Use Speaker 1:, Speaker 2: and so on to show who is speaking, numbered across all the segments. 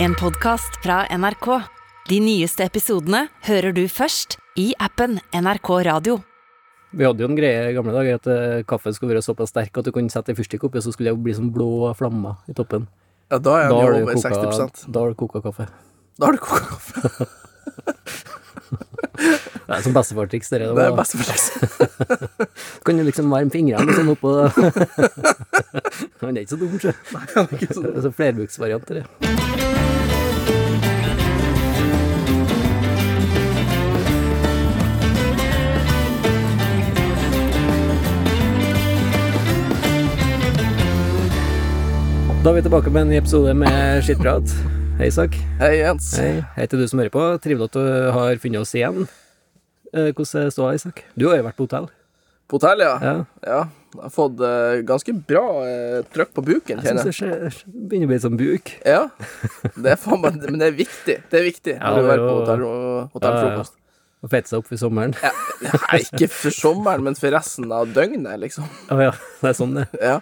Speaker 1: En podcast fra NRK. De nyeste episodene hører du først i appen NRK Radio.
Speaker 2: Vi hadde jo en greie i gamle dager at eh, kaffen skulle være såpass sterk at du kunne sette en fyrstikk oppi, og så skulle det jo bli sånn blå flammer i toppen.
Speaker 3: Ja, da er
Speaker 2: Da har du
Speaker 3: den jo over
Speaker 2: koka,
Speaker 3: 60
Speaker 2: da har du koka kaffe.
Speaker 3: Da har du koka kaffe.
Speaker 2: Det er som bestefartriks, det der.
Speaker 3: Det er
Speaker 2: da.
Speaker 3: beste forsikring.
Speaker 2: Kan du liksom varme fingrene og sånn oppå Han er ikke så dum, sjø.
Speaker 3: sånn.
Speaker 2: Det er så flerbruksvarianter, det. Da er vi tilbake med en ny episode med skittprat. Hei, Isak.
Speaker 3: Hei, Jens.
Speaker 2: Hei. Hei til du som hører på. Trivelig at du har funnet oss igjen. Eh, Hvordan står det, Isak? Du har jo vært på hotell.
Speaker 3: På hotell, ja.
Speaker 2: Ja.
Speaker 3: ja. Jeg har fått eh, ganske bra eh, trøkk på buken,
Speaker 2: Jeg
Speaker 3: kjenner jeg.
Speaker 2: syns det skje- begynner å bli litt sånn buk.
Speaker 3: Ja. Det er faen meg Men det er viktig. Det er viktig
Speaker 2: Ja,
Speaker 3: når du
Speaker 2: det er
Speaker 3: er på
Speaker 2: jo-
Speaker 3: hotell, hotellfrokost.
Speaker 2: Og fette seg opp i sommeren.
Speaker 3: Ja, Nei, ikke for sommeren, men for resten av døgnet, liksom.
Speaker 2: Å ja, det er sånn det.
Speaker 3: Ja.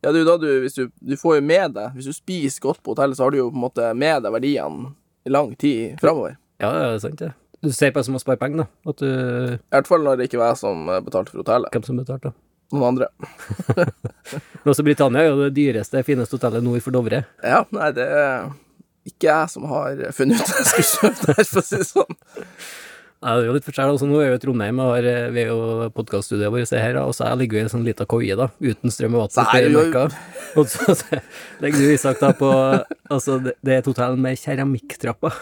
Speaker 3: Ja, du, da du, hvis du, du får jo med deg Hvis du spiser godt på hotellet, så har du jo på en måte med deg verdiene i lang tid framover.
Speaker 2: Ja, det er sant, det. Du ser på det som å spare penger, da. At du
Speaker 3: I hvert fall når det ikke var jeg som eh, betalte for hotellet.
Speaker 2: Hvem som betalte, da.
Speaker 3: Noen andre.
Speaker 2: Men også Britannia er jo det dyreste, fineste hotellet nord for Dovre.
Speaker 3: Ja, nei, det er ikke jeg som har funnet ut at jeg skulle søke der, for å si det sånn.
Speaker 2: Nei, det er jo litt forskjell. Altså, nå er jo i Trondheim, og har, eh, vi er jo podkaststudioet vårt er her, da, og så jeg ligger jo i en sånn lita koie, da, uten strøm og
Speaker 3: Så
Speaker 2: vann. ute i
Speaker 3: her er jo-
Speaker 2: marka. Og så, så legger du Isak da på Altså, det, det er et hotell med keramikktrapper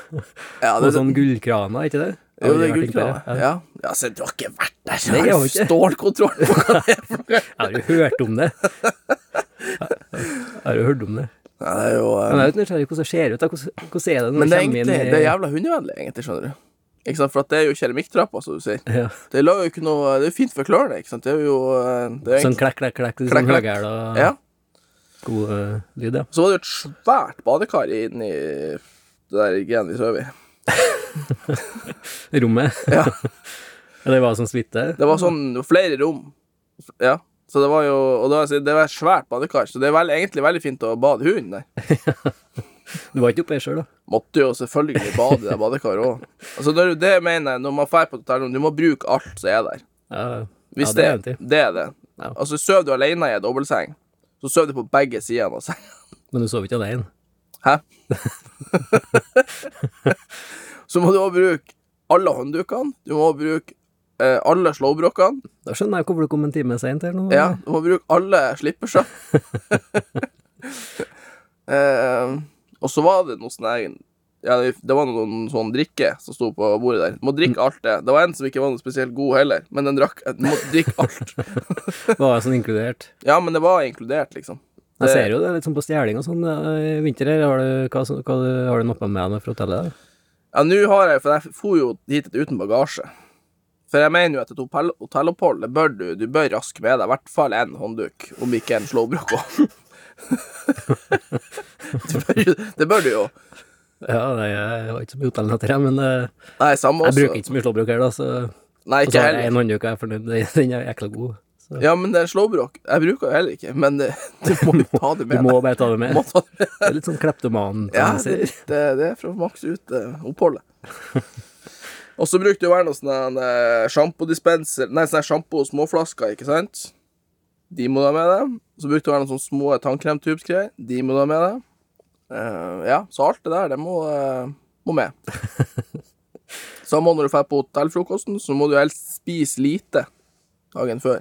Speaker 3: Ja,
Speaker 2: og
Speaker 3: det,
Speaker 2: sånn gullkraner, ikke det?
Speaker 3: jo, det
Speaker 2: Jeg
Speaker 3: er
Speaker 2: har aldri vært
Speaker 3: gullkrav.
Speaker 2: innpå det. Ja.
Speaker 3: Ja. ja, se, du har ikke vært der, så
Speaker 2: Nei,
Speaker 3: jeg
Speaker 2: jeg har
Speaker 3: har
Speaker 2: ikke.
Speaker 3: stålkontroll på hva det er for noe.
Speaker 2: Jeg har jo hørt om det. Jeg har jo hørt om det.
Speaker 3: Ja, det er jo eh,
Speaker 2: Men jeg er jo nysgjerrig på hvordan det ser ut. da. Hvordan, hvordan er det når
Speaker 3: Men det er
Speaker 2: du kommer inn
Speaker 3: egentlig
Speaker 2: i-
Speaker 3: det er jævla hundevennlig, egentlig, skjønner du. Ikke sant, For at det er jo keramikktrappa, som du sier.
Speaker 2: Ja.
Speaker 3: Det la jo ikke noe Det er jo fint for klørne, ikke sant. Det er jo eh, det er
Speaker 2: Sånn
Speaker 3: egentlig,
Speaker 2: klekk, klekk, klekk.
Speaker 3: Klekk,
Speaker 2: Sånn
Speaker 3: klekk.
Speaker 2: høyhæl og
Speaker 3: ja.
Speaker 2: god eh, lyd, ja.
Speaker 3: Så var det jo et svært badekar inni det der grenet vi sover i.
Speaker 2: Rommet.
Speaker 3: Ja.
Speaker 2: Ja, det var sånn suite.
Speaker 3: Det var sånn det var flere rom. Ja. Så det var jo Og da, det var et svært badekar, så det er vel, egentlig veldig fint å bade hunden der.
Speaker 2: Du var ikke oppe her sjøl, da?
Speaker 3: Måtte jo selvfølgelig bade i det badekaret òg. Altså, når, det mener jeg, når man drar på et hotellrom, du må bruke alt som er der.
Speaker 2: Ja,
Speaker 3: Hvis
Speaker 2: ja, det er
Speaker 3: det,
Speaker 2: egentlig.
Speaker 3: det, er det.
Speaker 2: Ja.
Speaker 3: Altså, sover du alene i en dobbeltseng, så sover du på begge sidene av senga.
Speaker 2: Men du sov ikke alene.
Speaker 3: Hæ? så må du òg bruke alle hånddukene. Du må også bruke eh, alle slåbrokkene.
Speaker 2: Da skjønner jeg hvorfor du kom en time seint her nå.
Speaker 3: Ja, du må bruke alle slippersene. eh, og så var det noe sånn her ja, det det var noen sånn drikke som sto på bordet der. Du må drikke alt det. Det var en som ikke var noe spesielt god heller, men den drakk Du må drikke alt.
Speaker 2: Var jeg sånn inkludert?
Speaker 3: Ja, men det var inkludert, liksom.
Speaker 2: Jeg
Speaker 3: Det-
Speaker 2: ser jo det er litt sånn på stjeling og sånn eh, i vinter her. Har du, hva, som- hva, du- har du nappa med deg fra hotellet? da?
Speaker 3: Ja, nå har jeg For jeg for jo hit uten bagasje. For jeg mener jo at et hotell- hotellopphold, det bør du Du bør raske med deg i hvert fall en håndduk, om ikke en slåbrok også. det, bør, jo- det bør du jo.
Speaker 2: Ja, nei, jeg har ikke så mye hotellnatter, jeg, men eh,
Speaker 3: Nei, samme
Speaker 2: jeg
Speaker 3: også.
Speaker 2: bruker ikke så mye slåbrok her, da, så
Speaker 3: Nei,
Speaker 2: Og så
Speaker 3: ikke
Speaker 2: har jeg
Speaker 3: heller.
Speaker 2: en håndduk jeg er fornøyd med. Den er jækla god. Så.
Speaker 3: Ja, men det er slåbrok. Jeg bruker jo heller ikke, men det, du må jo ta det
Speaker 2: Du
Speaker 3: med.
Speaker 2: må
Speaker 3: deg.
Speaker 2: bare ta det
Speaker 3: Du
Speaker 2: med.
Speaker 3: må ta det med.
Speaker 2: Det er litt sånn kleptoman.
Speaker 3: Ja,
Speaker 2: tendenser.
Speaker 3: det, det, det er for å makse ut eh, oppholdet. Og så brukte det å være noen sånne eh, sjampodispenser Nei, sånne sjampo- og småflasker, ikke sant? De må du ha med deg. Så brukte det å være noen sånne små tannkremtubesgreier. De må du ha med deg. Eh, ja, så alt det der, det må, eh, må med. Samme når du drar på hotellfrokosten, så må du helst spise lite dagen før.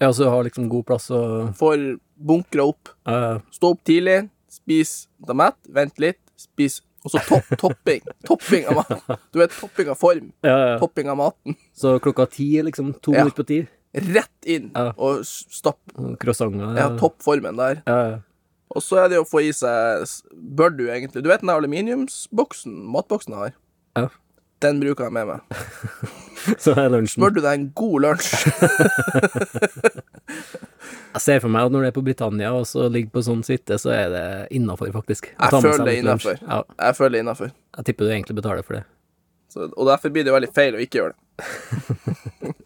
Speaker 2: Ja, så du har liksom god plass og
Speaker 3: Får bunkra opp
Speaker 2: eh,
Speaker 3: Stå opp tidlig, spis deg mett, vent litt, spis Og så topp, topping. Topping av mat. Du vet, topping av form.
Speaker 2: ja, ja.
Speaker 3: Topping av maten.
Speaker 2: Så klokka ti, liksom. To
Speaker 3: Ja.
Speaker 2: minutter på ti.
Speaker 3: Rett inn
Speaker 2: Ja.
Speaker 3: og s- stapp.
Speaker 2: Croissanter.
Speaker 3: Ja, topp formen der.
Speaker 2: Ja, ja.
Speaker 3: Og så er det å få i seg s- Bør du egentlig Du vet den der aluminiumsboksen matboksen jeg har?
Speaker 2: Ja.
Speaker 3: Den bruker jeg med meg.
Speaker 2: Så er lunsjen.
Speaker 3: Bør du deg en god lunsj?
Speaker 2: Jeg ser for meg at når du er på Britannia og så ligger på sånn suite, så er det innafor, faktisk. Å
Speaker 3: Jeg
Speaker 2: ta med
Speaker 3: føler
Speaker 2: seg
Speaker 3: det
Speaker 2: litt lunsj.
Speaker 3: innenfor.
Speaker 2: Ja,
Speaker 3: Jeg føler det innafor.
Speaker 2: jeg tipper du egentlig betaler for det.
Speaker 3: Og derfor blir det veldig feil å ikke gjøre det.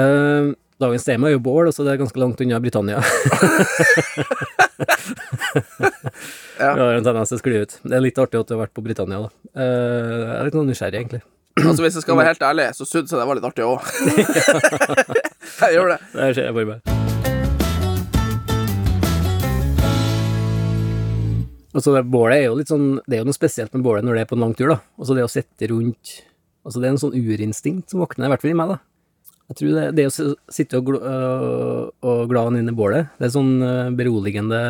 Speaker 2: Eh, Dagens tema er jo bål, så det er ganske langt unna Britannia.
Speaker 3: Ja.
Speaker 2: Vi har en tendens til å skli ut. Det er litt artig at du har vært på Britannia, da. Eh, jeg er litt sånn nysgjerrig, egentlig.
Speaker 3: Altså Hvis jeg skal være helt ærlig, så syns jeg det var litt artig òg. jeg gjør det.
Speaker 2: Det her skjer jeg bare med. Altså, det bålet er jo litt sånn Det er jo noe spesielt med bålet når det er på en lang tur, da. Altså, det å sitte rundt Altså, det er en sånn urinstinkt som våkner, i hvert fall i meg, da. Jeg tror det, det å s- sitte og, gl øh, og glane inn i bålet, det er sånn øh, beroligende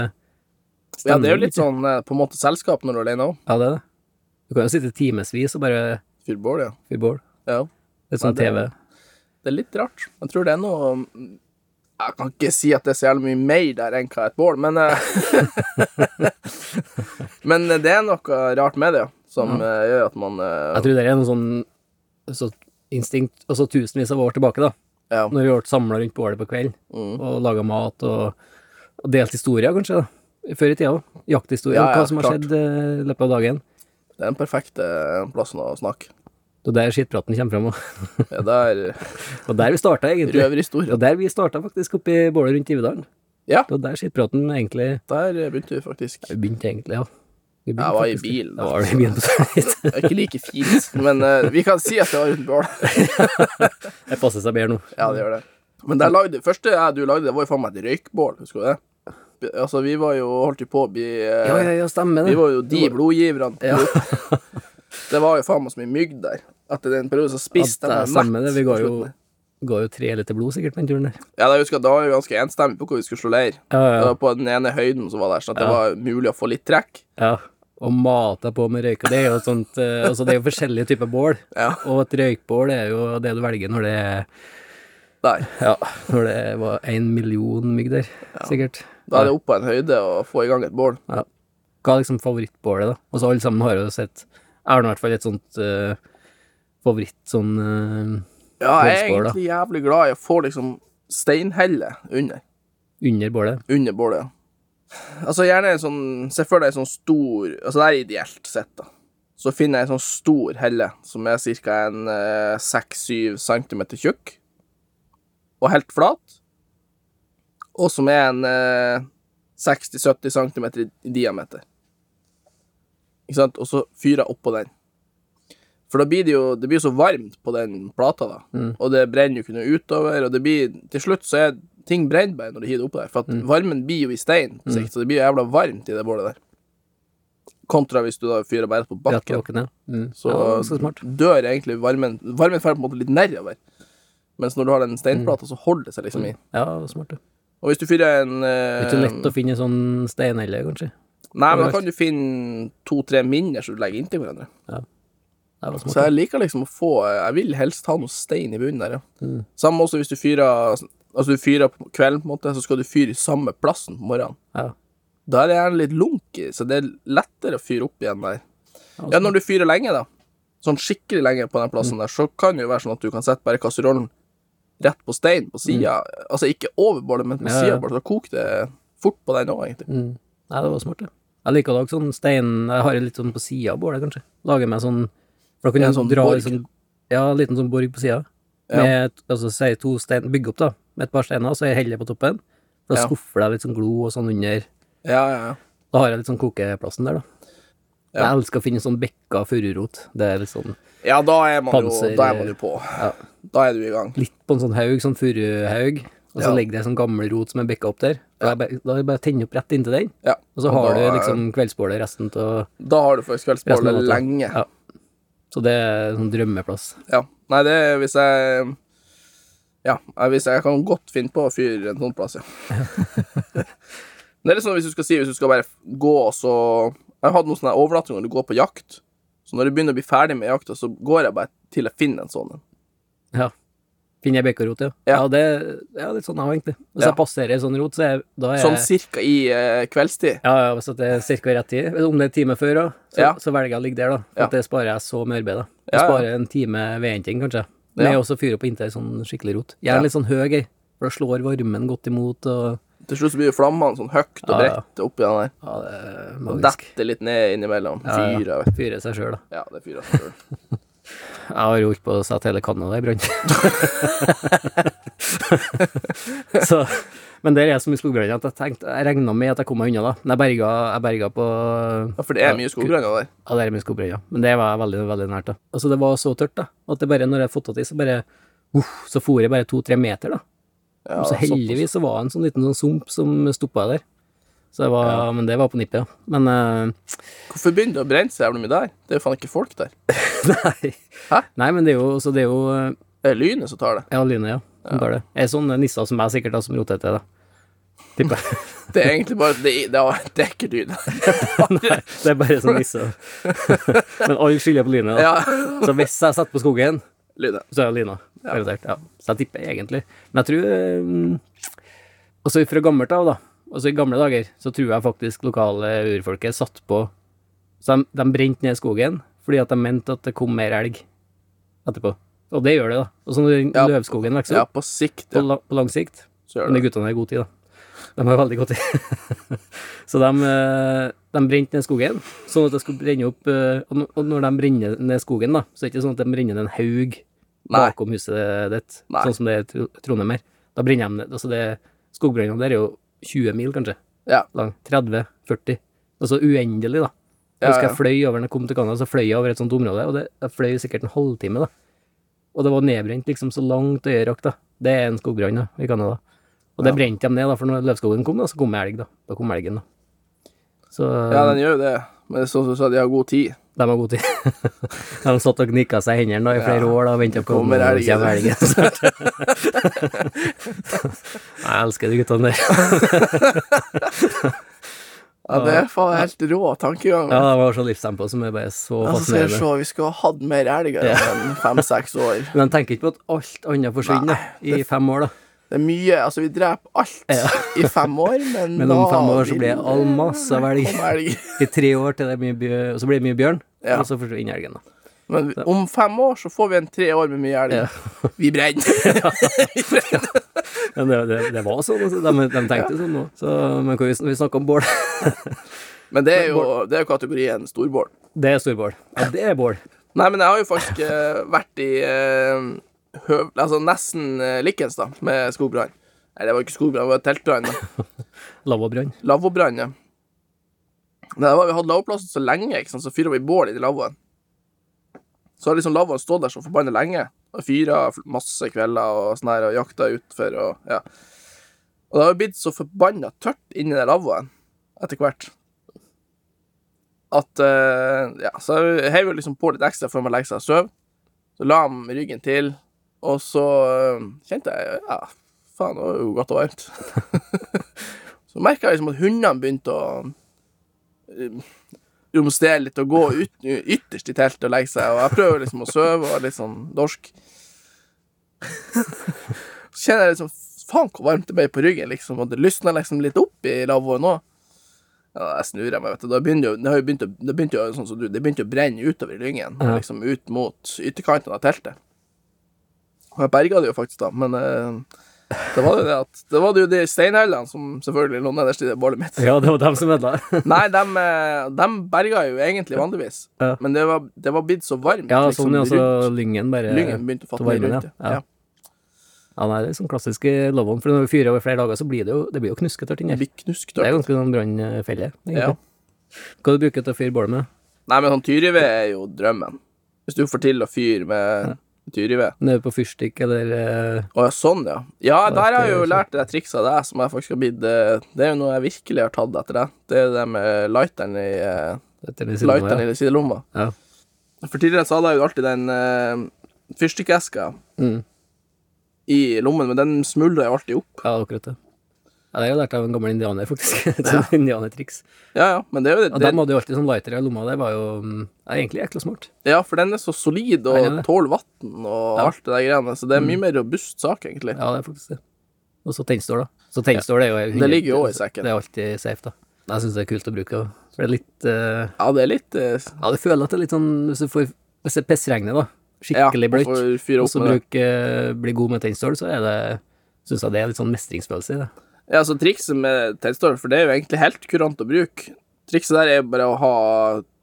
Speaker 3: Ja, det er jo litt
Speaker 2: stemning.
Speaker 3: sånn eh, på en måte selskap når du er alene òg.
Speaker 2: Ja, det er det. Du kan jo sitte timevis og bare
Speaker 3: Fyr bål, ja.
Speaker 2: fyre bål.
Speaker 3: ja.
Speaker 2: Litt sånn
Speaker 3: Ja, det er
Speaker 2: TV.
Speaker 3: Det er litt rart. Jeg tror det er noe mm, Jeg kan ikke si at det er så jævlig mye mer der enn hva et bål, men eh, Men det er noe rart med det, ja, som eh, gjør at man eh,
Speaker 2: Jeg tror det er noe sånn så instinkt Altså tusenvis av år tilbake, da.
Speaker 3: ja.
Speaker 2: Når vi ble samla rundt bålet på kvelden
Speaker 3: Mm.
Speaker 2: og laga mat og, og delt historier, kanskje. da. Før i tida òg. Jakthistorier,
Speaker 3: Ja, ja,
Speaker 2: hva som har
Speaker 3: klart.
Speaker 2: skjedd eh, i løpet av dagen.
Speaker 3: Det er den perfekte eh, plassen å snakke.
Speaker 2: Det er der skittpraten kommer fram. og-
Speaker 3: Ja, det er
Speaker 2: Og der vi starta, egentlig.
Speaker 3: røverhistorie.
Speaker 2: Og der vi starta, faktisk, oppi bålet rundt Ivedalen.
Speaker 3: Ja.
Speaker 2: Det var der skittpraten egentlig
Speaker 3: Der begynte vi faktisk.
Speaker 2: Vi begynte, egentlig, ja. Vi begynte
Speaker 3: Jeg var i
Speaker 2: faktisk-
Speaker 3: bilen. altså.
Speaker 2: Ja, var du i bilen på sånn
Speaker 3: Det er ikke like fint, men eh, vi kan si at det var uten bål.
Speaker 2: Det passer seg bedre nå.
Speaker 3: Ja, det gjør det. Men der lagde, første jeg du lagde, det var jo faen meg et røykbål, husker du det? B- Altså, vi var jo holdt jo på å bli eh,
Speaker 2: Ja, ja, ja, stemmer det.
Speaker 3: Vi var jo de blodgiverne. det var jo faen meg så mye mygg der. Etter den perioden så
Speaker 2: Ja,
Speaker 3: spiste
Speaker 2: det
Speaker 3: de
Speaker 2: er
Speaker 3: meg
Speaker 2: stemmer
Speaker 3: mett
Speaker 2: det. Vi
Speaker 3: på
Speaker 2: ga jo,
Speaker 3: slutten.
Speaker 2: ga jo tre liter blod, sikkert, på den turen der.
Speaker 3: Ja, da husker jeg, da var vi ganske enstemmige på hvor vi skulle slå leir.
Speaker 2: Ja, ja, ja.
Speaker 3: Det var på den ene høyden som var der, så at det var mulig å få litt trekk.
Speaker 2: Ja, og mata på med røyk, og det er jo et sånt eh, Altså, det er jo forskjellige typer bål,
Speaker 3: Ja.
Speaker 2: og et røykbål er jo det du velger når det er
Speaker 3: Der.
Speaker 2: Ja, når det var én million mygg der, sikkert.
Speaker 3: Da er det opp på en høyde å få i gang et bål.
Speaker 2: Ja. Hva er liksom favorittbålet, da? Og så alle sammen har jo sett Jeg har nå i hvert fall et sånt eh, favoritt sånn eh,
Speaker 3: Ja, jeg er
Speaker 2: Bålsbål, da.
Speaker 3: egentlig jævlig glad i å få liksom steinhelle under.
Speaker 2: under bålet.
Speaker 3: Under bålet, ja. Altså gjerne en sånn Se for deg en sånn stor Altså det er ideelt sett, da. Så finner jeg en sånn stor helle som er ca. en eh, 6-7 cm tjukk. Og helt flat. Og som er en eh, 60-70 cm i i diameter. Ikke sant? Og så fyrer jeg oppå den. For da blir det jo det blir så varmt på den plata, da. Og det brenner jo ikke noe utover. Og det blir, til slutt så er ting brenner bare når du hiver det oppå der. For at varmen blir jo i stein på sikt, så det blir jo jævla varmt i det bålet der. Kontra hvis du da fyrer bare på
Speaker 2: Rett
Speaker 3: bakken.
Speaker 2: på bakken, ja. Mm.
Speaker 3: Så,
Speaker 2: ja, ganske smart.
Speaker 3: Dør egentlig varmen Varmen får på en måte litt nedover. Mens når du har den steinplata, så holder det seg liksom i.
Speaker 2: Ja, smart, ja.
Speaker 3: Og hvis du fyrer en
Speaker 2: Det er
Speaker 3: eh,
Speaker 2: ikke lett å finne sånn steinhelle, kanskje.
Speaker 3: Nei, men da kan du finne to-tre mindre som du legger inntil hverandre.
Speaker 2: Det var smart.
Speaker 3: Så jeg liker liksom å få Jeg vil helst ha noe stein i bunnen der, ja.
Speaker 2: Mm.
Speaker 3: Samme også hvis du fyrer Altså du fyrer på kvelden, på en måte, så skal du fyre i samme plassen på morgenen.
Speaker 2: Ja.
Speaker 3: Da er det gjerne litt lunk i, så det er lettere å fyre opp igjen der.
Speaker 2: Ja,
Speaker 3: Ja, når du fyrer lenge, da, sånn skikkelig lenge på den
Speaker 2: Mm.
Speaker 3: plassen der, så kan det jo være sånn at du kan sette bare kasserollen rett på stein på sida. Altså ikke over bålet, men på
Speaker 2: Mm. Ja,
Speaker 3: siden
Speaker 2: ja.
Speaker 3: sida av bålet. Da koker det fort på den òg, egentlig.
Speaker 2: Mm. Nei, det var smart, det. Jeg liker å lage sånn stein Jeg har det litt sånn på sida av bålet, kanskje. Lager meg sånn For da kan
Speaker 3: En
Speaker 2: jeg
Speaker 3: sånn
Speaker 2: dra
Speaker 3: borg.
Speaker 2: en sånn Ja, en liten sånn borg på sida. Med altså, si to stein Bygge opp, da, med et par steiner, så jeg heller på toppen. Da
Speaker 3: Ja.
Speaker 2: skuffer det litt sånn glo og sånn under.
Speaker 3: Ja, ja, ja.
Speaker 2: Da har jeg litt sånn kokeplassen der, da.
Speaker 3: Ja.
Speaker 2: Jeg elsker å finne sånn bekka fururot. Det er litt sånn
Speaker 3: Ja, da er man, jo,
Speaker 2: Panser-
Speaker 3: da er man jo på.
Speaker 2: Ja.
Speaker 3: Da er du i gang.
Speaker 2: Litt på en sånn haug, sånn furuhaug, og så
Speaker 3: Ja.
Speaker 2: ligger det sånn gammel rot som er bekka opp der. Da er det bare- da er det bare å tenne opp rett inntil den,
Speaker 3: Ja.
Speaker 2: og så har
Speaker 3: da,
Speaker 2: du liksom kveldsbålet resten av
Speaker 3: Da har du faktisk
Speaker 2: Resten av
Speaker 3: kveldsbålet
Speaker 2: natta.
Speaker 3: lenge.
Speaker 2: Ja. Så det er en sånn drømmeplass.
Speaker 3: Ja. Nei, det er hvis jeg Ja, jeg- hvis jeg kan godt finne på å fyre en sånn plass, ja. det er litt sånn hvis du skal si Hvis du skal bare gå og så Jeg har hatt noen sånne overnattinger når du går på jakt. Så når du begynner å bli ferdig med jakta, så går jeg bare til jeg finner en sånn en.
Speaker 2: Ja. Finner jeg bekkarot, ja.
Speaker 3: Ja.
Speaker 2: Ja, det det er litt sånn jeg har, egentlig. Hvis
Speaker 3: Ja.
Speaker 2: jeg passerer en sånn rot, så er da er
Speaker 3: Sånn
Speaker 2: jeg
Speaker 3: cirka i eh, kveldstid.
Speaker 2: ja, ja, hvis at det er cirka rett tid. Eller Om det er en time før, da, så,
Speaker 3: Ja.
Speaker 2: så velger jeg å ligge der, da. For
Speaker 3: Ja.
Speaker 2: at det sparer jeg så mye arbeid, da. Jeg
Speaker 3: Ja, ja.
Speaker 2: sparer en time vedhenting, kanskje. Med
Speaker 3: Ja.
Speaker 2: å også fyre opp inntil en sånn skikkelig rot.
Speaker 3: Ja.
Speaker 2: Gjerne litt sånn høy, ei. For da slår varmen godt imot, og
Speaker 3: Til slutt så blir jo flammene sånn høyt og
Speaker 2: Ja, ja.
Speaker 3: bredt oppi den der.
Speaker 2: ja, det er
Speaker 3: Og
Speaker 2: magisk.
Speaker 3: detter litt ned innimellom.
Speaker 2: Ja, ja.
Speaker 3: Fyrer. vet du.
Speaker 2: Fyrer seg sjøl, da.
Speaker 3: Ja, det fyrer. jeg selv.
Speaker 2: Jeg har jo holdt på å sette hele Canada i brann. Så- men der er jeg så mye skogbrann at jeg tenkte, jeg regna med at jeg kom meg unna, da. Men jeg berga, jeg berga på
Speaker 3: Ja, for det er mye skogbranner der.
Speaker 2: Ja, det er mye skogbrann, ja. Men det var veldig, veldig nært, da. Altså, det var så tørt, da, at det bare, når jeg fått det til, så bare uff, Så for jeg bare to-tre meter, da.
Speaker 3: Ja,
Speaker 2: så heldigvis så var det en sånn liten sånn sump som stoppa der. Så det var, Men det var på nippet, ja. Men eh,
Speaker 3: såpass. Hvorfor begynner det å brenne så jævlig mye der? Det er jo faen ikke folk der.
Speaker 2: Nei.
Speaker 3: Hæ?
Speaker 2: Nei, men det er jo, så det er jo eh,
Speaker 3: Det er lynet som tar det.
Speaker 2: Ja, Line, ja. Som tar det. Er sånne nisser som meg sikkert da, som roter til det. Tipper jeg.
Speaker 3: Det er egentlig bare Det, det, er, det er ikke lyd.
Speaker 2: Nei, det er bare sånn nisse. men alle skylder på Line, da.
Speaker 3: Ja,
Speaker 2: Så hvis jeg setter på skogen,
Speaker 3: lynet.
Speaker 2: så er det Lina. Garantert. Ja. Så jeg tipper egentlig. Men jeg tror eh, Altså fra gammelt av, da. Altså I gamle dager så tror jeg faktisk lokale urfolket satt på Så de, de brente ned skogen fordi at de mente at det kom mer elg etterpå. Og det gjør det, da. Og så når
Speaker 3: Ja.
Speaker 2: løvskogen vokser opp
Speaker 3: Ja, på sikt.
Speaker 2: på,
Speaker 3: Ja,
Speaker 2: la, på lang sikt
Speaker 3: så
Speaker 2: Men
Speaker 3: gjør
Speaker 2: de
Speaker 3: det.
Speaker 2: guttene har god tid, da. De har veldig god tid. så de, eh, de brente ned skogen, sånn at det skulle brenne opp eh, Og n- og når de brenner ned skogen, da, så er det ikke sånn at de brenner ned en haug
Speaker 3: Nei.
Speaker 2: bakom huset ditt,
Speaker 3: Nei.
Speaker 2: sånn som det er i Tro- Trondheim her. Da brenner de ned. Altså det- Skogbrannene der er jo 20 mil, kanskje.
Speaker 3: Ja.
Speaker 2: Lang. 30-40. Altså uendelig, da. Jeg
Speaker 3: Ja,
Speaker 2: husker
Speaker 3: ja.
Speaker 2: jeg fløy over når jeg kom til Canada, så fløy jeg over et sånt område, og det, jeg fløy sikkert en halvtime, da. Og det var nedbrent liksom så langt øyet rakk, da. Det er en skogbrann da, i Canada. Og det
Speaker 3: Ja.
Speaker 2: brente de ned, da, for når løvskogen kom, da, så kom elg, da. Da kom elgen, da. Så
Speaker 3: Ja, den gjør jo det. Men det er sånn som du sa, de har god tid.
Speaker 2: de har god tid. de satt og gnikka seg i hendene da, i flere
Speaker 3: Ja.
Speaker 2: år da, og venta på
Speaker 3: Kommer
Speaker 2: når det
Speaker 3: elgen.
Speaker 2: kommer elgen. snart. Jeg elsker de guttene der.
Speaker 3: Ja, Det er faen helt rå tankegang.
Speaker 2: Ja, de har så livstempo som er bare så
Speaker 3: Ja, så skal vi
Speaker 2: fascinerende.
Speaker 3: se, vi skulle ha hatt mer elger enn fem-seks år.
Speaker 2: Men de tenker ikke på at alt annet forsvinner i fem år, da.
Speaker 3: Det er mye, altså vi dreper alt i fem år, men,
Speaker 2: Men
Speaker 3: da
Speaker 2: om fem år så
Speaker 3: vil
Speaker 2: blir det all masse av elg.
Speaker 3: komme elg.
Speaker 2: I tre år til det er mye bjørn, og så blir det mye bjørn,
Speaker 3: Ja.
Speaker 2: og så forsvinner elgen, da.
Speaker 3: Men om fem år så får vi en tre år med mye elg. Vi brenner.
Speaker 2: Men det, det, det var sånn, altså. de, de tenkte sånn nå. Så, men hva vi, vi snakker om bål.
Speaker 3: Men det er jo, det er jo kategorien storbål.
Speaker 2: Det er storbål. Ja, det er bål.
Speaker 3: Nei, men jeg har jo faktisk eh, vært i eh, høv, altså nesten eh, likens da, med skogbrann. Nei, det var ikke skogbrann, det var teltbrann. da.
Speaker 2: Lavvobrann.
Speaker 3: Lavvobrann, ja. Nei, det var, vi hadde lavvoplassen så lenge, ikke sant? så fyra vi bål i lavvoen. Så har liksom lavvoen stått der så forbanna lenge. Og fyra fl- masse kvelder og sånn her, og jakta utfor og ja. Og det har jo blitt så forbanna tørt inni den lavvoen etter hvert at eh, Ja, så jeg heiv jo liksom på litt ekstra før man legger seg og sover. Så la han ryggen til, og så eh, kjente jeg Ja, faen, det var jo godt og varmt. Så merka jeg liksom at hundene begynte å eh, romstere litt og gå ut, ytterst i teltet og legge seg, og jeg prøver liksom å sove og er litt sånn dorsk. Så kjenner jeg liksom Faen, hvor varmt det ble på ryggen, liksom, og det lysna liksom litt opp i lavvoen òg. Ja, jeg snur meg, vet du. Da begynte jo, det har jo begynt å, det begynte jo sånn som du, det begynte å brenne utover i lyngen,
Speaker 2: Ja.
Speaker 3: liksom ut mot ytterkanten av teltet. Og jeg berga det jo faktisk, da, men eh, det var jo det at Det var jo de steinhellene som selvfølgelig lå nederst i det bålet mitt.
Speaker 2: Ja, det var dem som ødela.
Speaker 3: Nei, de, eh, de berga jo egentlig vanligvis.
Speaker 2: Ja.
Speaker 3: Men det var, det var blitt så varmt. liksom,
Speaker 2: Ja, sånn ja, så
Speaker 3: rundt.
Speaker 2: lyngen bare
Speaker 3: Lyngen begynte å fatte
Speaker 2: så varmen,
Speaker 3: mye rundt.
Speaker 2: ja.
Speaker 3: Ja.
Speaker 2: Ja.
Speaker 3: Ja.
Speaker 2: Ja, nei, det er sånn klassisk i lavvoen, for når vi fyrer over flere dager, så blir det jo, det blir jo knusketørt inni
Speaker 3: Det
Speaker 2: her.
Speaker 3: blir knusktørt.
Speaker 2: Det er ganske sånn brannfelle,
Speaker 3: Ja.
Speaker 2: egentlig. Hva du bruker til å fyre bålet med?
Speaker 3: Nei, men sånn tyrived er jo drømmen. Hvis du får til å fyre med tyrived.
Speaker 2: Nede på fyrstikk, eller eh,
Speaker 3: Å ja, sånn, ja.
Speaker 2: Det er
Speaker 3: Ja,
Speaker 2: sånn.
Speaker 3: der har
Speaker 2: ikke
Speaker 3: jeg jo
Speaker 2: så-
Speaker 3: lært det trikset av deg som jeg faktisk har blitt eh, Det er jo noe jeg virkelig har tatt etter deg. Det er jo det med lighteren i, eh,
Speaker 2: etter det siden
Speaker 3: lighteren
Speaker 2: av, ja.
Speaker 3: i sidelomma.
Speaker 2: Ja.
Speaker 3: For tidligere så hadde jeg jo alltid den uh, fyrstikkeska
Speaker 2: Mm.
Speaker 3: i lommen, men den smuldra jo alltid opp.
Speaker 2: ja, akkurat det. Ja, det har jeg lært av en gammel indianer, faktisk. Et sånt indianertriks.
Speaker 3: Ja, ja, men det er jo
Speaker 2: Og
Speaker 3: det,
Speaker 2: dem hadde jo alltid sånn lighter i lomma, det var jo mm, det er egentlig jækla smart.
Speaker 3: Ja, for den er så solid
Speaker 2: Den er
Speaker 3: og
Speaker 2: det.
Speaker 3: tåler vann og alt det der greiene, så det er mye mer robust sak, egentlig.
Speaker 2: Ja, det er faktisk det. Og så tennstål, da. Så tennstål er jo
Speaker 3: Det ligger jo også i sekken.
Speaker 2: Det er alltid safe, da. Jeg syns det er kult å bruke. da. For det er litt eh,
Speaker 3: Ja, det er litt eh,
Speaker 2: Ja, det føler at det er litt sånn Hvis du får Hvis det pissregner, da,
Speaker 3: ja,
Speaker 2: skikkelig
Speaker 3: man
Speaker 2: bløtt,
Speaker 3: får fyre
Speaker 2: og
Speaker 3: opp
Speaker 2: så
Speaker 3: med det.
Speaker 2: bruk, eh, bli god med tennstål, så er det Syns jeg det er litt sånn mestringsfølelse i det.
Speaker 3: Ja, så trikset med tennstål, for det er jo egentlig helt kurant å bruke, Trikset der er jo bare å ha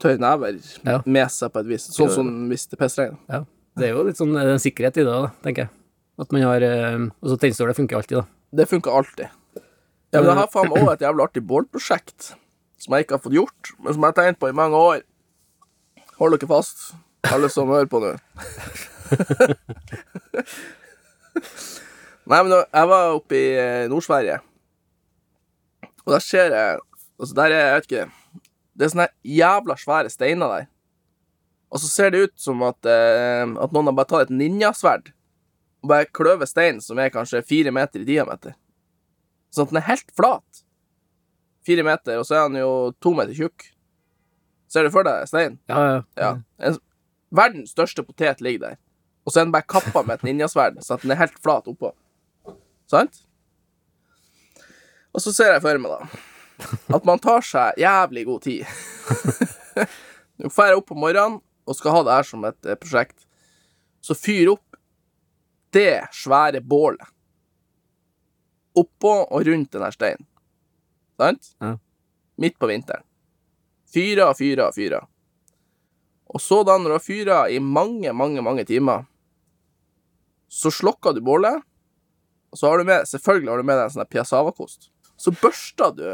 Speaker 3: tørre never
Speaker 2: Ja.
Speaker 3: med seg på et vis. Sånn som hvis det pissregner.
Speaker 2: Ja. Det er jo litt sånn eh, en sikkerhet i det, da, tenker jeg. At man har eh, Og så tennstålet funker alltid, da.
Speaker 3: Det funker alltid. Ja, men jeg har faen meg også et jævlig artig bålprosjekt som jeg ikke har fått gjort, men som jeg har tenkt på i mange år. Hold dere fast, alle som hører på nå. Nei, men da- jeg var oppe i eh, Nord-Sverige, og der ser jeg Altså, der er jeg vet ikke Det er sånne jævla svære steiner der. Og så ser det ut som at, eh, at noen har bare tatt et ninjasverd og bare kløver steinen, som er kanskje fire meter i diameter. Sånn at den er helt flat. Fire meter, og så er den jo to meter tjukk. Ser du for deg steinen?
Speaker 2: Ja, ja.
Speaker 3: Ja. En, verdens største potet ligger der, og så er den bare kappa med et ninjasverd, så at den er helt flat oppå. Sant? Og så ser jeg for meg, da, at man tar seg jævlig god tid. Nå drar jeg opp på morgenen og skal ha det her som et eh, prosjekt. Så fyr opp det svære bålet oppå og rundt den her steinen. Sant?
Speaker 2: Ja.
Speaker 3: Midt på vinteren. Fyra og fyra og fyra. Og så da, når du har fyra i mange, mange, mange timer, så slokker du bålet, og så har du med, selvfølgelig har du med deg en sånn der piassavakost. Så børster du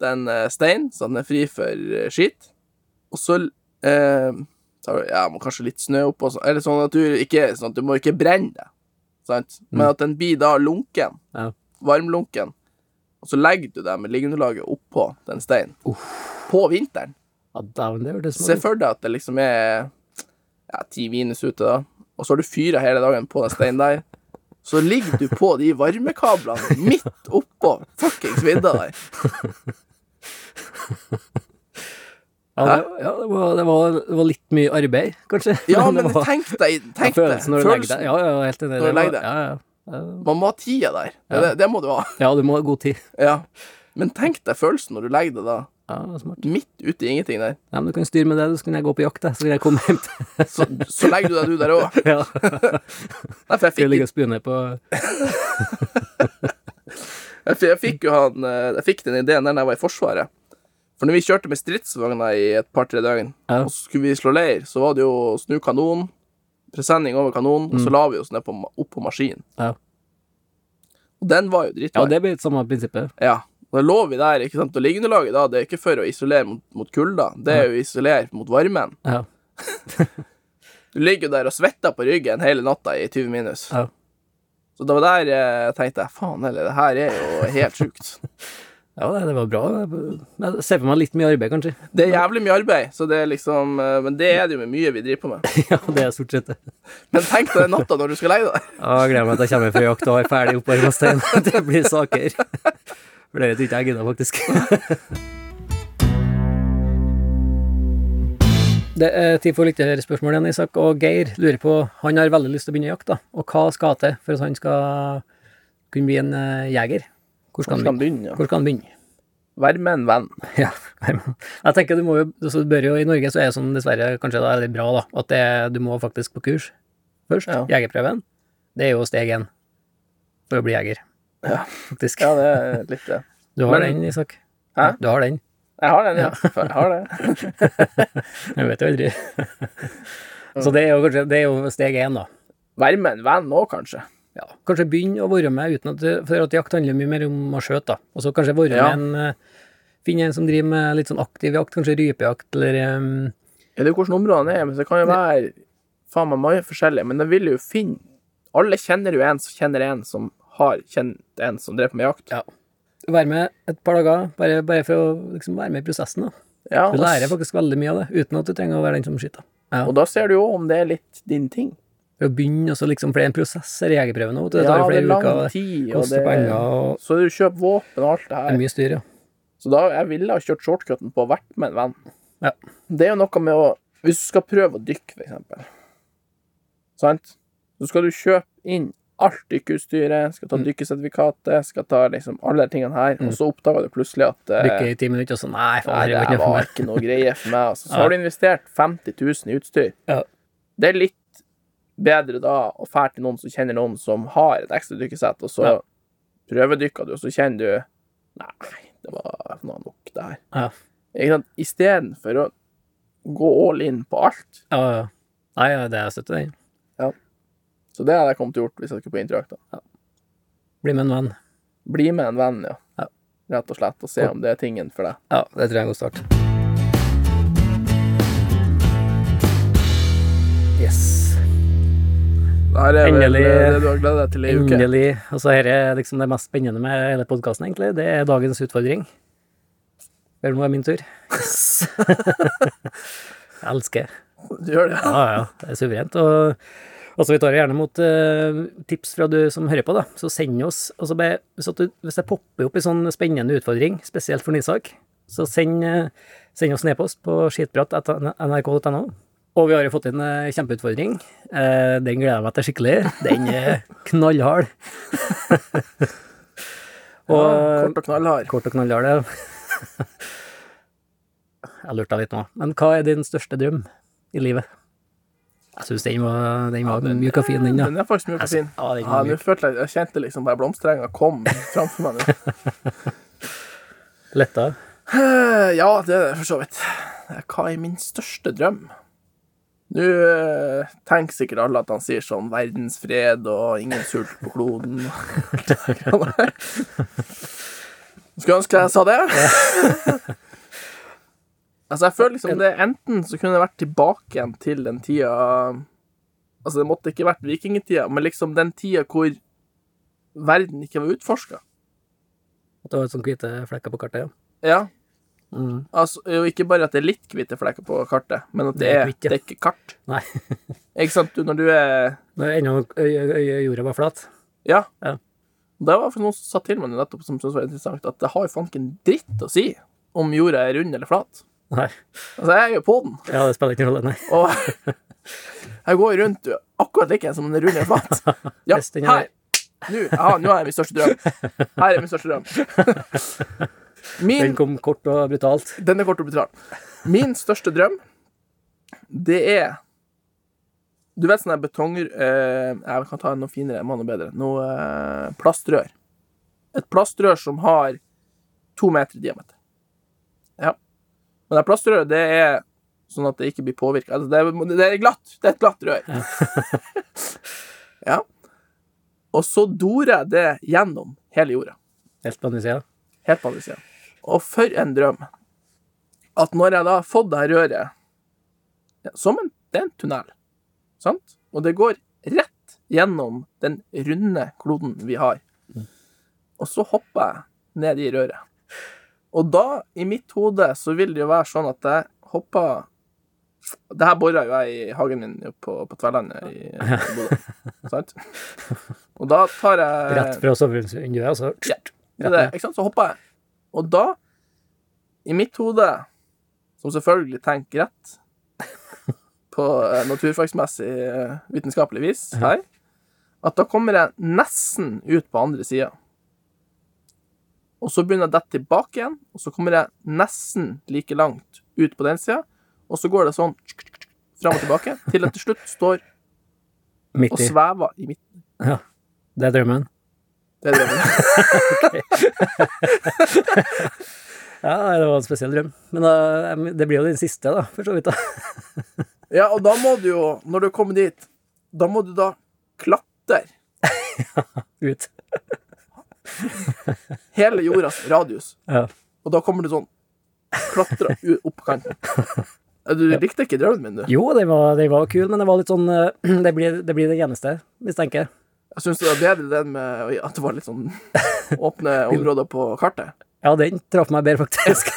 Speaker 3: den eh, steinen, så den er fri for eh, skitt, og så eh, tar du ja, må kanskje litt snø oppå, så- eller sånn at du ikke, sånn at du må ikke brenne deg, sant? Men at den blir da lunken,
Speaker 2: Ja.
Speaker 3: varmlunken, og så legger du deg med liggeunderlaget oppå den steinen, på vinteren.
Speaker 2: ja dæven, det hørtes
Speaker 3: Se
Speaker 2: smart ut.
Speaker 3: for deg at det liksom er ja, ti minus ute, da. Og så har du fyra hele dagen på den steinen der. Så ligger du på de varmekablene midt oppå fuckings vidda der.
Speaker 2: Ja, det, ja det, var, det, var, det var litt mye arbeid, kanskje.
Speaker 3: Ja, men
Speaker 2: det var,
Speaker 3: tenk deg
Speaker 2: ja,
Speaker 3: tenk deg
Speaker 2: følelsen når du legger deg. Ja, ja, helt enig.
Speaker 3: Når du
Speaker 2: Det var-
Speaker 3: legger deg.
Speaker 2: Ja, ja.
Speaker 3: Man må ha tida der.
Speaker 2: Ja.
Speaker 3: Det, det må du ha.
Speaker 2: ja, du må ha god tid.
Speaker 3: Ja. Men tenk deg følelsen når du legger deg da,
Speaker 2: Ja, det var smart.
Speaker 3: midt ute i ingenting der.
Speaker 2: Ja, men du kan styre med det, så kan jeg gå på jakt, jeg, så kan jeg komme hjem til
Speaker 3: Så, så legger du deg, du der òg.
Speaker 2: ja.
Speaker 3: Nei,
Speaker 2: Skal
Speaker 3: for jeg
Speaker 2: jeg
Speaker 3: fikk
Speaker 2: ligge og spune på
Speaker 3: Ja, for Jeg fikk jo han eh, Jeg fikk den ideen der da jeg var i Forsvaret. For når vi kjørte med stridsvogner i et par-tre døgn,
Speaker 2: Ja.
Speaker 3: og så skulle vi slå leir, så var det jo å snu kanon, presenning over kanon, og
Speaker 2: Mm.
Speaker 3: så la vi oss ned på, ma- opp på maskinen.
Speaker 2: Ja.
Speaker 3: Og den var jo dritbra.
Speaker 2: Ja, det blir litt samme prinsippet.
Speaker 3: Ja. Da lå vi der, ikke sant. Og liggeunderlaget da, det er ikke for å isolere mot, mot kulda, det er jo å isolere mot varmen.
Speaker 2: Ja.
Speaker 3: Du ligger jo der og svetter på ryggen hele natta i 20 minus.
Speaker 2: Ja.
Speaker 3: Så det var der eh, jeg tenkte faen heller, det her er jo helt sjukt.
Speaker 2: Ja, det, det var bra. Jeg ser for meg litt mye arbeid, kanskje.
Speaker 3: Det er jævlig mye arbeid, så det er liksom, eh, men det er det jo med mye vi driver på med.
Speaker 2: Ja, det er stort sett det.
Speaker 3: Men tenk deg den natta når du skal legge deg.
Speaker 2: Ja, jeg gleder meg til jeg kommer fra jakt og har ferdig opparma stein. Det blir saker. For det tror ikke jeg gidder, faktisk. Det er tid for lytterspørsmål igjen, Isak. Og Geir lurer på Han har veldig lyst til å begynne å jakte, da. Og hva skal til for at han skal kunne bli en eh, jeger? Hvor skal han begynne?
Speaker 3: begynne?
Speaker 2: Hvor skal han begynne?
Speaker 3: Vær med en venn.
Speaker 2: Ja, nei, men jeg tenker du må jo, altså, du bør jo I Norge så er det sånn dessverre kanskje det er litt bra da, at det, du må faktisk på kurs først.
Speaker 3: Ja.
Speaker 2: Jegerprøven. Det er jo steg én for å bli jeger,
Speaker 3: Ja.
Speaker 2: faktisk.
Speaker 3: Ja, det er litt det.
Speaker 2: Du har
Speaker 3: Men-
Speaker 2: den, Isak.
Speaker 3: Hæ?
Speaker 2: Du har den.
Speaker 3: Jeg har den, ja. Jeg har det.
Speaker 2: Jeg vet jo aldri. så det er jo kanskje det er jo steg én, da.
Speaker 3: Vær med en venn òg, kanskje.
Speaker 2: Ja, kanskje begynne å være med uten at For at jakt handler mye mer om å skjøte, da. Og så kanskje være
Speaker 3: Ja.
Speaker 2: med en eh, Finne en som driver med litt sånn aktiv jakt, kanskje rypejakt, eller eh,
Speaker 3: Eller hvordan områdene er, men det kan jo være faen meg mange forskjellige. Men jeg vil jo finne Alle kjenner jo en som kjenner en som har kjent en som drev på med jakt.
Speaker 2: Ja. Være med et par dager, bare, bare for å liksom være med i prosessen. da.
Speaker 3: Ja,
Speaker 2: Du lærer
Speaker 3: og,
Speaker 2: faktisk veldig mye av det, uten at du trenger å være den som skyter. Ja.
Speaker 3: og da ser du jo om det er litt din ting.
Speaker 2: For å begynne også liksom, for det er en prosess her i jegerprøven òg. Det
Speaker 3: Ja,
Speaker 2: tar jo
Speaker 3: det er
Speaker 2: flere
Speaker 3: lang
Speaker 2: uker,
Speaker 3: tid,
Speaker 2: det
Speaker 3: og det
Speaker 2: koster penger og
Speaker 3: Så du kjøper våpen og alt det
Speaker 2: det
Speaker 3: her.
Speaker 2: er mye styr, ja.
Speaker 3: Så da jeg ville ha kjørt shortcuten på å vært med en venn.
Speaker 2: Ja.
Speaker 3: Det er jo noe med å Hvis du skal prøve å dykke, for eksempel, sant? så skal du kjøpe inn alt dykkeutstyret, skal ta dykkesertifikatet, skal ta liksom alle de tingene her, og så oppdager du plutselig at eh,
Speaker 2: Dykke i ti minutter, og så nei,
Speaker 3: Nei,
Speaker 2: faen, det var
Speaker 3: det
Speaker 2: ikke
Speaker 3: her
Speaker 2: noe for
Speaker 3: var
Speaker 2: meg.
Speaker 3: ikke noe greie for meg. Altså. Så
Speaker 2: Ja.
Speaker 3: har du investert 50 000 i utstyr.
Speaker 2: Ja.
Speaker 3: Det er litt bedre da å fære til noen som kjenner noen som har et ekstra dykkesett, og så
Speaker 2: Ja.
Speaker 3: prøvedykker du, og så kjenner du Nei, det var faen nok, det her.
Speaker 2: Ja.
Speaker 3: Ikke sant? Istedenfor å gå all in på alt.
Speaker 2: Ja, ja. Nei, ja, det jeg støtter deg.
Speaker 3: Så det hadde jeg kommet til å gjort hvis jeg skulle på interakt. da.
Speaker 2: Bli med en venn.
Speaker 3: Bli med en venn, ja.
Speaker 2: Ja.
Speaker 3: Rett og slett, og se om det er tingen for deg.
Speaker 2: Ja, det tror jeg er en god start. Yes.
Speaker 3: Det her er vel
Speaker 2: Endelig.
Speaker 3: eh, det du har gledet deg til i ei uke.
Speaker 2: Endelig. Altså, her er liksom det mest spennende med hele podkasten, egentlig. Det er dagens utfordring. Vel, nå er min tur. Yes. jeg elsker.
Speaker 3: Du gjør det.
Speaker 2: Ja, ja. Det er suverent. Og altså, vi tar gjerne imot eh, tips fra du som hører på, da. Så send oss altså, bare, hvis, at du, hvis det popper opp en sånn spennende utfordring, spesielt for Nisak, så send, eh, send oss en e-post på skitprat.nrk.no. Og vi har jo fått inn en kjempeutfordring. Eh, Den gleder jeg meg til skikkelig. Den er knallhard.
Speaker 3: Ja,
Speaker 2: og
Speaker 3: kort og knallhard.
Speaker 2: kort og knallhard, ja. Jeg lurte deg litt nå. Men hva er din største drøm i livet? Jeg syns den var, den var mjuk og fin, den, da.
Speaker 3: Den er faktisk mjuk og fin.
Speaker 2: Ja, den
Speaker 3: Ja,
Speaker 2: var
Speaker 3: nå
Speaker 2: mjuk.
Speaker 3: følte jeg, jeg kjente liksom bare blomsterenga kom framfor meg. nå.
Speaker 2: Letta.
Speaker 3: Eh, Ja, det er det for så vidt. Eh, Hva er min største drøm? Nå eh, tenker sikkert alle at han sier sånn verdensfred og ingen sult på kloden. Skulle ønske jeg sa det. altså, jeg føler liksom det enten så kunne det vært tilbake igjen til den tida Altså, det måtte ikke vært vikingtida, men liksom den tida hvor verden ikke var utforska.
Speaker 2: At det var sånne hvite flekker på kartet. ja.
Speaker 3: Ja.
Speaker 2: Mm.
Speaker 3: Altså, jo, ikke bare at det er litt hvite flekker på kartet, men at det,
Speaker 2: Det er
Speaker 3: er,
Speaker 2: hvitt, ja.
Speaker 3: det er ikke kart.
Speaker 2: Nei.
Speaker 3: Ikke sant? Du, når du er
Speaker 2: Når ennå øy- øy- øy- jorda var flat.
Speaker 3: Ja.
Speaker 2: Ja.
Speaker 3: Det var for noen som sa til meg nettopp, som syntes var interessant, at det har jo faen ikke en dritt å si om jorda er rund eller flat.
Speaker 2: Nei.
Speaker 3: Altså, jeg er jo på den,
Speaker 2: Ja, det spiller ingen rolle, nei.
Speaker 3: og jeg går rundt akkurat like som om den er rund eller flat. Ja,
Speaker 2: Hvis den er-
Speaker 3: her. Nå, aha, nå er jeg min største drøm. Her er min største drøm. Min
Speaker 2: Den kom kort og brutalt.
Speaker 3: Den er kort og brutal. Min største drøm, det er Du vet sånne betonger eh, Jeg kan ta noe finere, jeg må ha noe bedre. Noe eh, plastrør. Et plastrør som har to meter i diameter. Ja. Men det plastrøret, det er sånn at det ikke blir påvirka. Altså, det, er- det er glatt. Det er et glatt rør. ja. Og så dorer jeg det gjennom hele jorda.
Speaker 2: Helt på andre sida.
Speaker 3: Helt på andre sida. Og for en drøm. At når jeg da har fått det her røret ja, Som en, det er en tunnel, sant? Og det går rett gjennom den runde kloden vi har. Og så hopper jeg ned i røret. Og da, i mitt hode, så vil det jo være sånn at jeg hopper Det her bora jo jeg i hagen min jo på, på Tverlandet i, i Bodø. Sant? Og da tar jeg
Speaker 2: Rett fra sovevinduet, altså.
Speaker 3: Eh. ja, det er det, ikke sant? Så hopper jeg. Og da, i mitt hode, som selvfølgelig tenker rett på eh, naturfagsmessig eh, vitenskapelig vis her, at da kommer jeg nesten ut på andre sida. Og så begynner jeg å dette tilbake igjen, og så kommer jeg nesten like langt ut på den sida, og så går det sånn fram og tilbake, til jeg til slutt står og
Speaker 2: Midt i.
Speaker 3: svever i midten.
Speaker 2: Ja. Det er drømmen.
Speaker 3: Det er drømmen.
Speaker 2: Ja, nei, det var en spesiell drøm. Men da, em, det blir jo den siste, da, for så vidt. da.
Speaker 3: Ja, og da må du jo, når du kommer dit, da må du da klatre
Speaker 2: Ut.
Speaker 3: hele jordas radius,
Speaker 2: Ja.
Speaker 3: og da kommer du sånn klatra u- opp kanten. Ja, Du likte ikke drømmen min, du.
Speaker 2: Jo, den var, den var kul, men det var litt sånn eh, Det blir det, blir det eneste, mistenker jeg.
Speaker 3: Jeg syns det var bedre den med oi, at det var litt sånn åpne områder på kartet.
Speaker 2: Ja, den traff meg bedre, faktisk.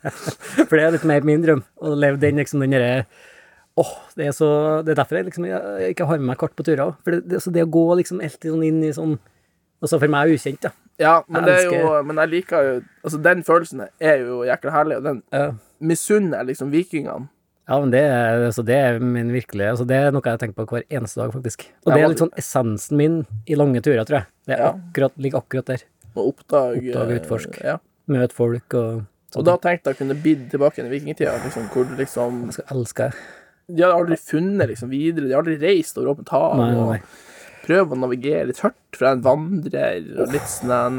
Speaker 2: For det er litt mer min drøm. Å leve den liksom den derre Åh, det er så Det er derfor jeg liksom jeg ikke har med meg kart på turer. For det, det, altså, det å gå liksom alltid sånn inn i sånn Altså for meg ukjent, da.
Speaker 3: Ja, men det er
Speaker 2: Jeg
Speaker 3: jo Men jeg liker jo Altså, den følelsen er jo jækla herlig, og den
Speaker 2: Ja.
Speaker 3: misunner jeg liksom vikingene.
Speaker 2: Ja, men det, er- altså det er min virkelige altså Det er noe jeg tenker på hver eneste dag, faktisk. Og det er litt sånn essensen min i lange turer, tror jeg. Det er
Speaker 3: Ja.
Speaker 2: akkurat, ligger akkurat der.
Speaker 3: Å oppdage
Speaker 2: Oppdage og utforske.
Speaker 3: Ja.
Speaker 2: Møte folk og sånn.
Speaker 3: Og da tenkte jeg kunne bidd tilbake igjen i vikingtida, liksom, hvor du liksom
Speaker 2: Jeg skal elske deg.
Speaker 3: De har aldri funnet liksom videre. De har aldri reist over åpent hav
Speaker 2: Nei, nei,
Speaker 3: og
Speaker 2: nei.
Speaker 3: prøver å navigere litt hardt fra en vandrer og litt sånn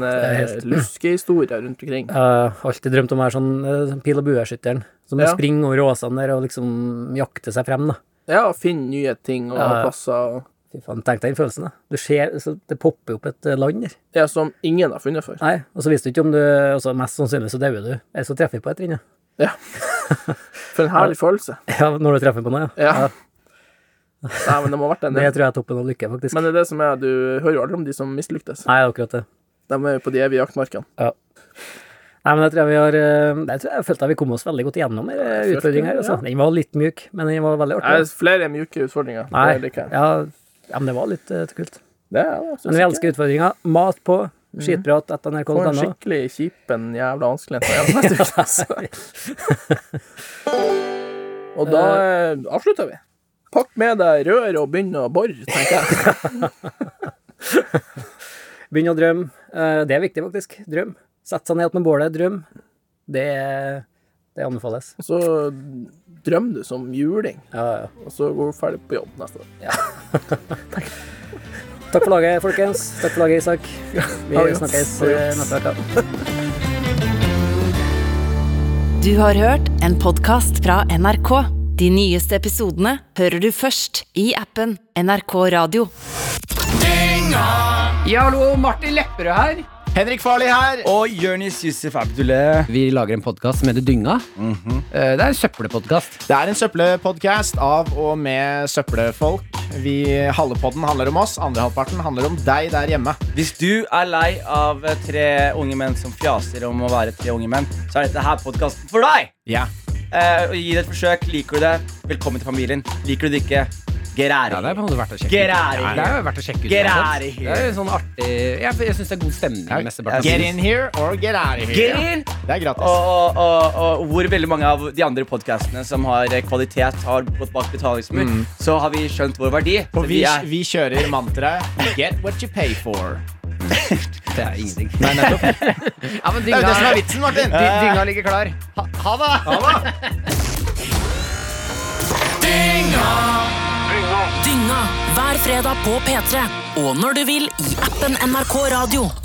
Speaker 2: er
Speaker 3: uh,
Speaker 2: helt-
Speaker 3: luskehistorier rundt omkring.
Speaker 2: Jeg har alltid drømt om å være sånn eh, pil- og bueskytteren som
Speaker 3: Ja.
Speaker 2: springer over åsene der og liksom jakter seg frem, da.
Speaker 3: Ja, og finne nye ting og
Speaker 2: Ja, ja.
Speaker 3: plasser og
Speaker 2: Fy faen, tenk deg den følelsen, da. Du ser, så det popper opp et eh, land der.
Speaker 3: Ja, som ingen har funnet før.
Speaker 2: Nei, og så visste du ikke om du altså Mest sannsynlig så dauer du, eller så treffer vi på et trinne.
Speaker 3: For en herlig følelse.
Speaker 2: Ja, når du treffer på noe, ja.
Speaker 3: Ja. Nei, men det må ha vært en
Speaker 2: Det
Speaker 3: del.
Speaker 2: tror jeg er toppen av lykke, faktisk.
Speaker 3: Men det er det som er, du hører jo aldri om de som mislyktes.
Speaker 2: Nei, det er akkurat det.
Speaker 3: De er jo på de evige jaktmarkene.
Speaker 2: Nei, men jeg tror jeg vi har eh, Jeg tror jeg følte at vi kom oss veldig godt igjennom
Speaker 3: Jeg følte
Speaker 2: utfordringa her,
Speaker 3: det,
Speaker 2: altså. Den var litt mjuk, men den var veldig
Speaker 3: Nei,
Speaker 2: artig.
Speaker 3: flere mjuke utfordringer.
Speaker 2: Nei,
Speaker 3: Det liker jeg.
Speaker 2: ja, ja, men det var litt eh, kult.
Speaker 3: Det er jeg
Speaker 2: Men vi elsker utfordringer. Mas på skitprat etter
Speaker 3: Få en
Speaker 2: nrk.no.
Speaker 3: skikkelig kjip en jævla vanskelig en. Ja, neste uke, altså. Og da eh, avslutter vi. Pakk med deg rør og begynn å bore, tenker jeg.
Speaker 2: Begynn å drømme. Eh, Det er viktig, faktisk. Drøm. Sett seg ned med bålet. Drøm. Det, det anbefales.
Speaker 3: Og så drømmer du som juling,
Speaker 2: Ja, ja.
Speaker 3: og så går du ferdig på jobb neste dag.
Speaker 2: Takk for laget, folkens. Takk for laget, Isak.
Speaker 3: Ha
Speaker 2: Vi
Speaker 3: det godt.
Speaker 2: snakkes
Speaker 3: Ha det
Speaker 2: eh,
Speaker 3: godt.
Speaker 2: neste uke.
Speaker 1: Du har hørt en podkast fra NRK. De nyeste episodene hører du først i appen NRK Radio.
Speaker 4: Ja, hallo, Martin Lepperød her.
Speaker 5: Henrik Farley her.
Speaker 6: Og Jonis Yusuf Abdullah.
Speaker 7: Vi lager en podkast som heter Dynga. Eh, Det er en søppelpodkast.
Speaker 5: Det er en søppelpodkast av og med søppelfolk. Vi, halve podden handler om oss, andre halvparten handler om deg der hjemme.
Speaker 6: Hvis du er lei av eh, tre unge menn som fjaser om å være tre unge menn, så er dette her podkasten for deg!
Speaker 5: Ja.
Speaker 6: Eh, og Gi det et forsøk. Liker du det, velkommen til familien. Liker du det ikke, get out
Speaker 7: Ja,
Speaker 6: of
Speaker 7: det er på en
Speaker 6: here.
Speaker 7: måte verdt å sjekke
Speaker 6: Get
Speaker 7: ut.
Speaker 6: out of
Speaker 7: Ja,
Speaker 6: here.
Speaker 7: det er verdt å sjekke ut.
Speaker 6: Get
Speaker 7: uansett.
Speaker 6: out of here.
Speaker 7: Det er sånn artig Jeg, jeg syns det er god stemning. mesteparten av
Speaker 5: Get
Speaker 7: tiden.
Speaker 5: in here or get out of
Speaker 6: Get
Speaker 5: here.
Speaker 6: in!
Speaker 5: Det er gratis.
Speaker 6: Og, og, og, og hvor veldig mange av de andre podkastene som har eh, kvalitet, har gått bak betalingsmur,
Speaker 7: Mm.
Speaker 6: så har vi skjønt vår verdi.
Speaker 5: Og
Speaker 6: Så
Speaker 5: vi,
Speaker 6: er-
Speaker 5: vi kjører mantraet Get what you pay for.
Speaker 7: Det er ingenting.
Speaker 4: Ja, men
Speaker 5: Det er
Speaker 4: dynga,
Speaker 5: jo det som er vitsen, Martin.
Speaker 4: dy- dynga ligger klar.
Speaker 5: Ha det!
Speaker 8: Dynga hver fredag på P3 og når du vil i appen NRK Radio.